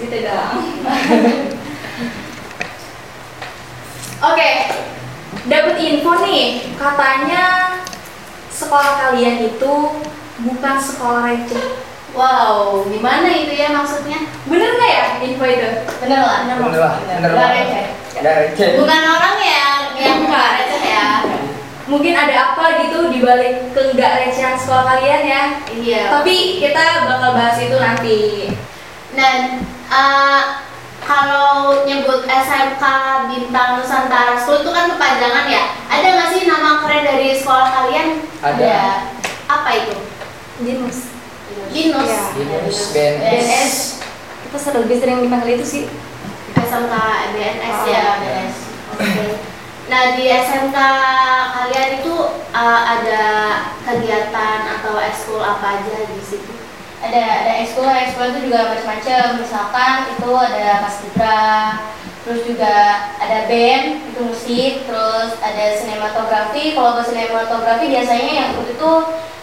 gitu dong oke dapat info nih katanya sekolah kalian itu bukan sekolah receh Wow, gimana itu ya maksudnya? bener nggak ya info itu Bener lah. Bener lah, bener Nggak lah. receh. Nggak receh. Bukan orang yang yang nggak receh ya. mungkin ada apa gitu di balik ke nggak recehan sekolah kalian ya Iya. tapi kita bakal bahas itu nanti Dan eh, kalau nyebut SMK Bintang Nusantara School itu kan kepanjangan ya. Ada nggak sih nama keren dari sekolah kalian? Iya. Ada. Apa itu? Jinus Binus. Iya. Binus, BNS. BNS. kita sering lebih sering dipanggil itu sih SMK BNS Oh. ya BNS. Oke. Nah di SMK kalian itu uh, ada kegiatan atau ekskul apa aja di situ? ada ada ekskul ekskul itu juga macam-macam misalkan itu ada mas Gibra terus juga ada band itu musik terus ada sinematografi kalau ke sinematografi biasanya yang ikut itu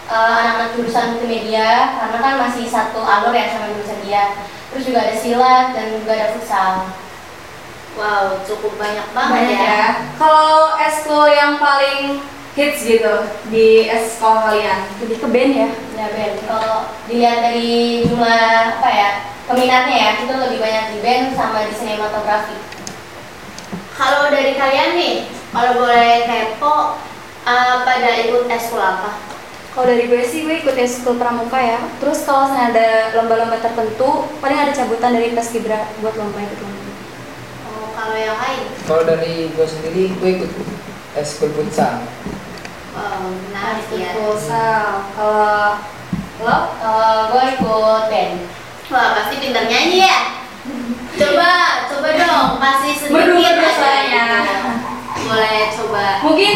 eh, anak-anak jurusan multimedia karena kan masih satu alur ya sama jurusan dia terus juga ada silat dan juga ada futsal Wow cukup banyak banget banyak ya. ya kalau eskul yang paling hits gitu di eskol kalian lebih ke band ya ya band kalau dilihat dari jumlah apa ya peminatnya ya itu lebih banyak di band sama di sinematografi Kalau dari kalian nih, kalau boleh kepo uh, pada ikut ekskul apa? Kalau dari gue sih gue ikut eskul pramuka ya. Terus kalau misalnya ada lomba-lomba tertentu, paling ada cabutan dari Paskibra buat lomba ikut Iya. lomba. Oh, kalau yang lain, Kalau dari gue sendiri, gue ikut eskul futsal. wow, Oh, menarik Iya. ya. futsal kalau lo kalau gue Eh, ikut band Wah pasti pintar nyanyi ya. Coba, coba dong, pasti Merdu-merdu sedikit aja suaranya. gitu. Boleh coba. mungkin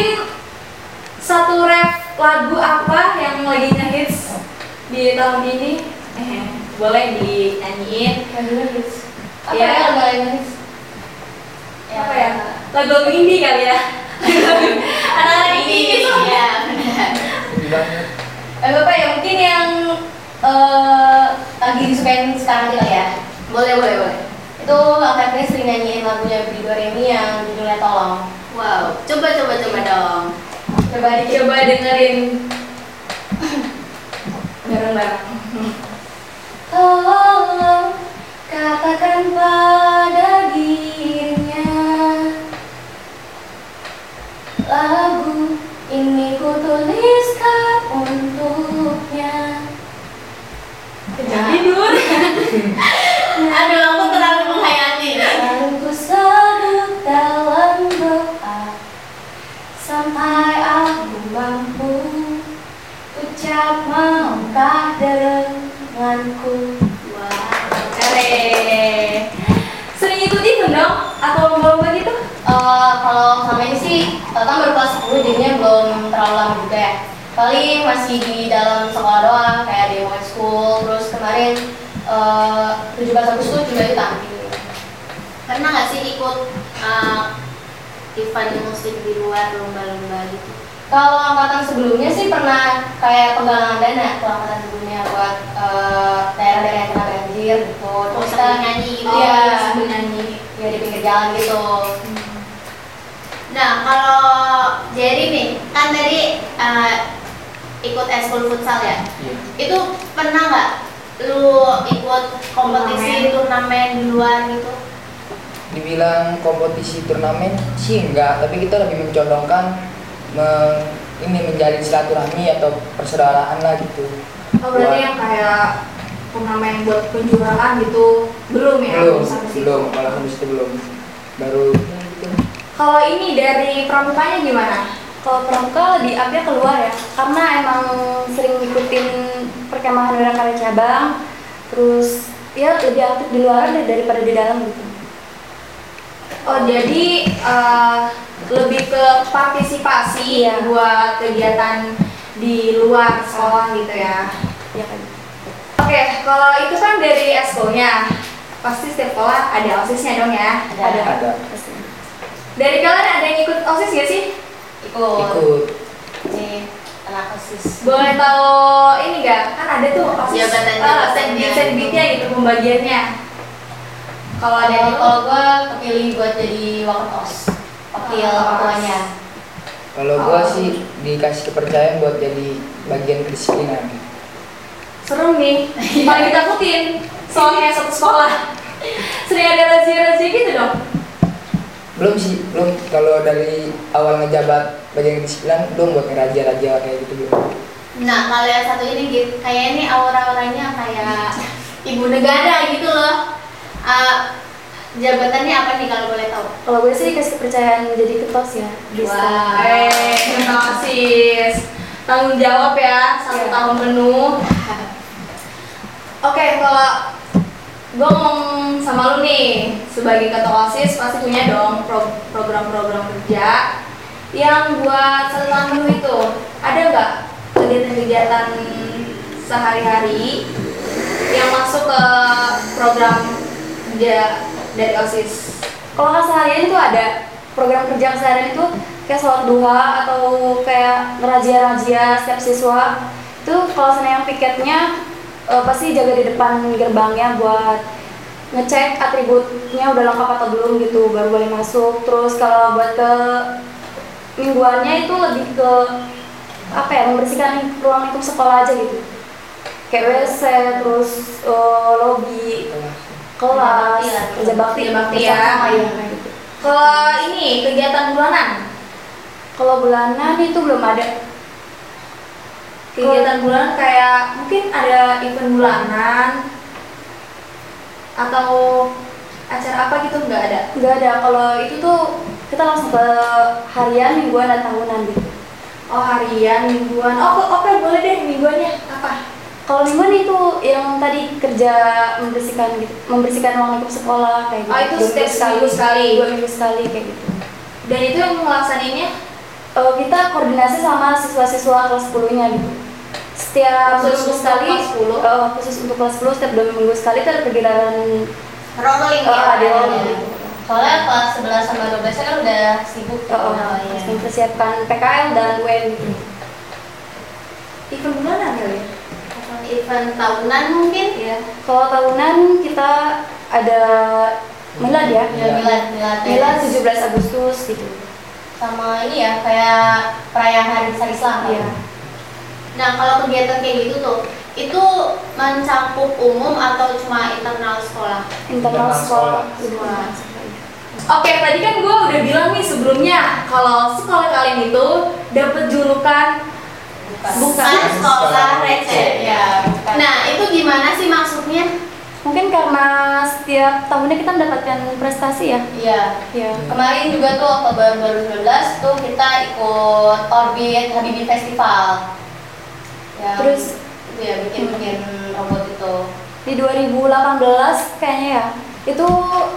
satu rap lagu apa yang lagi ngehits di tahun ini Eh, boleh dinyanyiin Lagunya hits. Apa Iya. ya lagunya hits? apa ya lagu indie kali ya anak-anak indie gitu Iya, benar. Sedih banget. Eh, Bapak ya mungkin yang eh, lagi disukain sekarang kali ya. Boleh, boleh, boleh. Itu angkatnya sering nyanyiin lagunya Bri Doremi yang judulnya Tolong. Wow, coba, coba, coba dong. Coba di coba dengerin bareng-bareng Tolong katakan pada dirinya Lagu ini ku tuliskan untuknya kejam tidur Aduh, aku terlalu menghayati. Dan ku sebut dalam doa Sampai aku mampu Ucap maukah denganku Wow. Keren. Sering ikut event dong atau lomba-lomba gitu? Eh, kalau sama ini sih eh, kan baru kelas 10 jadinya belum terlalu lama juga ya. Paling masih di dalam sekolah doang kayak di high school terus kemarin eh 17 Agustus juga di tampil. Pernah nggak sih ikut eh, event musik di luar lomba-lomba gitu? Kalau angkatan sebelumnya sih pernah kayak pegangan dana kalau angkatan sebelumnya buat eh, daerah-daerah yang kena banjir gitu. Oh, Terus kita sambil nyanyi gitu. Iya. Sambil nyanyi. ya di pinggir jalan gitu. Nah, kalau Jerry nih, kan tadi eh, ikut ekskul futsal ya. Iya. Itu pernah nggak lu ikut kompetisi turnamen di luar gitu? Dibilang kompetisi turnamen sih enggak, tapi kita lebih mencondongkan meng- ini menjalin silaturahmi atau persaudaraan lah gitu. Oh berarti Buat- yang kayak turnamen buat penjualan gitu belum ya? belum, sampai situ. belum, malah habis itu belum. Baru Kalau ini dari pramukanya gimana? Kalau pramuka lebih upnya keluar ya Karena emang sering ngikutin perkemahan wirakarya cabang Terus ya lebih aktif di luar deh daripada di dalam gitu Oh jadi eh, lebih ke partisipasi Iya. buat kegiatan di luar sekolah gitu ya. Ya kan Oke, kalau itu kan dari eskulnya pasti setiap sekolah ada osisnya dong ya. Ada. ada pasti. Dari kalian ada yang ikut osis gak sih? Oh. Ikut ikut di anak osis. Boleh tahu ini gak? Kan ada tuh osis Iya, Jabatannya, eh, jabatannya. segmen-segmennya gitu pembagiannya. Kalau ada Kalau yang kalau gue kepilih buat jadi waketos, wakil Waketos. ketuanya. Kalau gua Oh. sih dikasih kepercayaan buat jadi bagian kedisiplinan. seru nih Iya. paling ditakutin soal kayak satu sekolah sering ada razia-razia gitu dong Belum sih, belum. Kalau dari awal ngejabat bagian kedisiplinan, belum buat ngeraja-raja kayak gitu belum. Nah, kalau yang satu ini gitu, kayak ini aura-auranya kayak ibu negara gitu loh. Ah, jabatannya apa nih kalau boleh tahu? Kalau gue sih dikasih kepercayaan jadi ketos ya. Bisa. Wah. eh terima kasih tanggung jawab ya Iya. satu tahun penuh oke kalau gue ngomong sama lu nih sebagai ketua osis pasti punya dong pro- program-program kerja yang buat satu tahun penuh itu ada nggak kegiatan-kegiatan sehari-hari yang masuk ke program kerja dari osis Kalau nggak seharian itu ada program kerja keseharian itu kayak sholat duha atau kayak razia-razia setiap siswa itu kalau sana yang piketnya eh, pasti jaga di depan gerbangnya buat ngecek atributnya udah lengkap atau belum gitu baru boleh masuk terus kalau buat ke mingguannya itu lebih ke apa ya membersihkan ruang lingkup sekolah aja gitu kayak WC terus eh, lobby kelas Kerja bakti kerja lah. bakti kerja Iya, Kerja bakti ya. sama, kayak gitu. Kalau ini kegiatan bulanan, Kalau bulanan itu belum ada. gitu. kegiatan bulanan kayak mungkin ada event bulanan atau acara apa gitu nggak ada. Nggak ada. Kalau itu tuh kita langsung ke harian, mingguan, dan tahunan gitu. Oh harian, mingguan. Oh oke oke, boleh deh mingguannya apa? Kalau mingguan itu yang tadi kerja membersihkan gitu, membersihkan ruang lingkup sekolah kayak gitu. Oh, itu Dua setiap seminggu sekali. Dua minggu sekali kayak gitu. Dan itu yang ngelaksanainnya Eh, kita koordinasi sama siswa-siswa kelas 10-nya gitu. Setiap Oh, Khusus minggu untuk sekali, kelas 10? eh, khusus untuk kelas 10 setiap dua minggu sekali itu ada kegiatan eh, Rolling Oh, ada ya. rolling. Iya. Soalnya kelas 11 sama 12 nya kan udah sibuk eh, Oh, eh, iya. awalnya. harus mempersiapkan PKL dan UN gitu. event bulanan kali ya? Event tahunan mungkin. Iya. Kalau tahunan kita ada milad ya. Ya, milad, milad. Milad 17 Agustus gitu. sama ini ya kayak perayaan hari besar Islam kan? Iya. Nah, kalau kegiatan kayak gitu tuh, itu mencakup umum atau cuma internal sekolah? Internal Internal sekolah. sekolah. Internal sekolah. Oke, tadi kan gue udah bilang nih sebelumnya kalau sekolah kalian itu dapat julukan bukan. Bukan. Bukan sekolah receh. ya bukan. Nah, itu gimana sih maksudnya? Mungkin karena setiap tahunnya kita mendapatkan prestasi ya. iya Iya. kemarin juga tuh waktu baru baru 19 tuh kita ikut orbit Habibie Festival ya Terus? ya bikin bikin robot itu Di 2018 kayaknya ya. Itu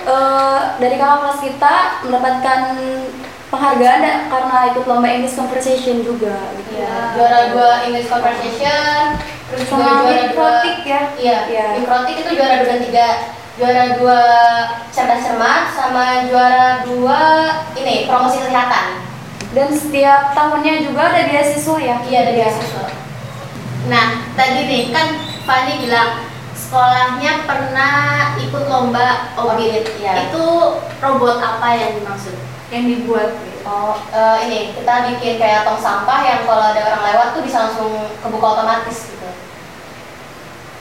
eh, dari kakak kelas kita mendapatkan penghargaan dan karena ikut lomba English conversation juga gitu. Iya. ya juara dua English conversation terus juga Sama juara dua mikrotik ya. iya Iya. mikrotik itu juara dua dan tiga juara dua cerdas cermat sama juara dua ini promosi kesehatan Dan setiap tahunnya juga ada beasiswa ya. iya dari asesor Nah, tadi nih kan Fani bilang sekolahnya pernah ikut lomba obit. Obit, ya. Itu robot apa yang dimaksud? yang dibuat. gitu. Oh, eh, ini kita bikin kayak tong sampah yang kalau ada orang lewat tuh bisa langsung kebuka otomatis gitu.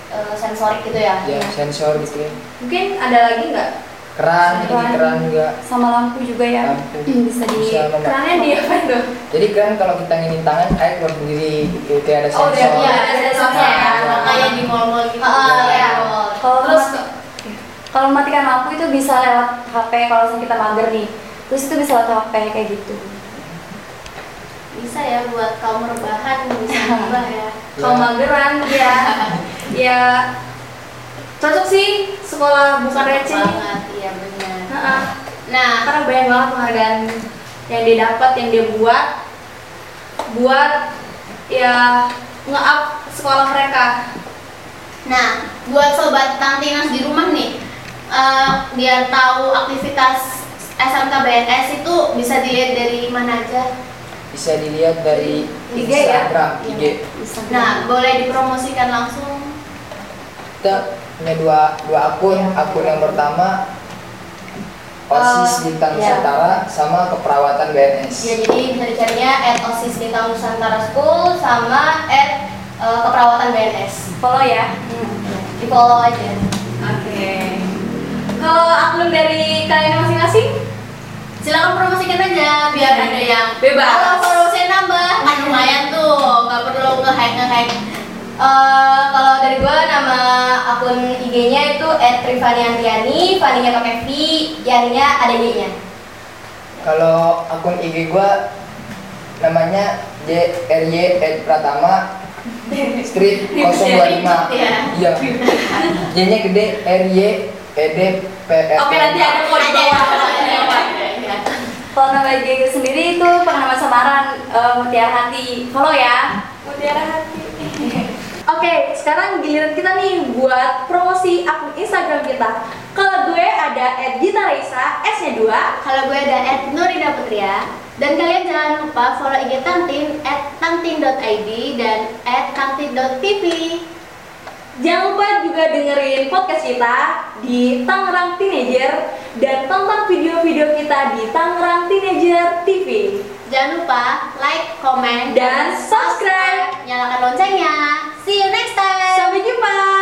Eh, sensorik gitu ya. Ya sensor gitu ya. Mungkin ada lagi nggak? Keran, ini Keran. keran juga. Sama lampu juga ya. Lampu. Hmm, Bisa di Bisa mema- Kerannya di apa itu? Jadi kan kalau kita nginin tangan, air keluar sendiri gitu. Kayak ada Oh, sensor. udah iya, ada sensornya ya. Kayak di mall-mall gitu. Ah, ya. Kalau Terus Iya. mati- kalau matikan lampu itu bisa lewat HP kalau misalnya kita mager nih. Terus itu bisa lewat HP kayak gitu. Bisa ya buat kaum rebahan bisa berubah ya. kalau mageran ya ya cocok sih sekolah bukan receh nih. banget, iya benar. Heeh. Nah, karena banyak banget penghargaan yang dia dapat yang dia buat buat ya nge-up sekolah mereka Nah, buat sobat Tantinas di rumah nih, eh, biar tahu aktivitas SMKBNS itu bisa dilihat dari mana aja. Bisa dilihat dari IG ya? Instagram, IG. Iya. Instagram. Nah, boleh dipromosikan langsung. Kita punya dua dua akun. Akun yang pertama OSIS Bintang iya. Nusantara sama keperawatan BNS. Ya, jadi bisa dicarinya at OSIS Bintang Nusantara School sama at eh, keperawatan BNS. Follow ya. Di follow aja. Oke. Kalau upload dari kalian masing-masing? Silakan promosikan aja biar ada yang Bebas. Kalau followersnya nambah, kan lumayan tuh, nggak perlu nge-hack nge-hack. Eh, kalau dari gua nama akun IG-nya itu @rivaniantiani, Faninya pakai V, Yaninya ada Y-nya. Kalau akun IG gua namanya JRY Ed Pratama Street 025. ya. Iya. J-nya gede E RY ED PR. Oke nanti ada kode Ada bawah. ya. Kalau nama IG sendiri itu pengaman samaran eh, Mutiara Hati. Follow ya. Mutiara hati. Oke, sekarang giliran kita nih buat promosi akun Instagram kita. Kalau gue ada @gitaraisa, S-nya 2. Kalau gue ada at Nurida Putria dan kalian jangan lupa follow IG Tangtin at tangtin.id dan at tangtin.tv. Jangan lupa juga dengerin podcast kita di Tangerang Teenager dan tonton video-video kita di Tangerang Teenager TV Jangan lupa like, comment, dan subscribe. nyalakan loncengnya. See you next time. Sampai jumpa.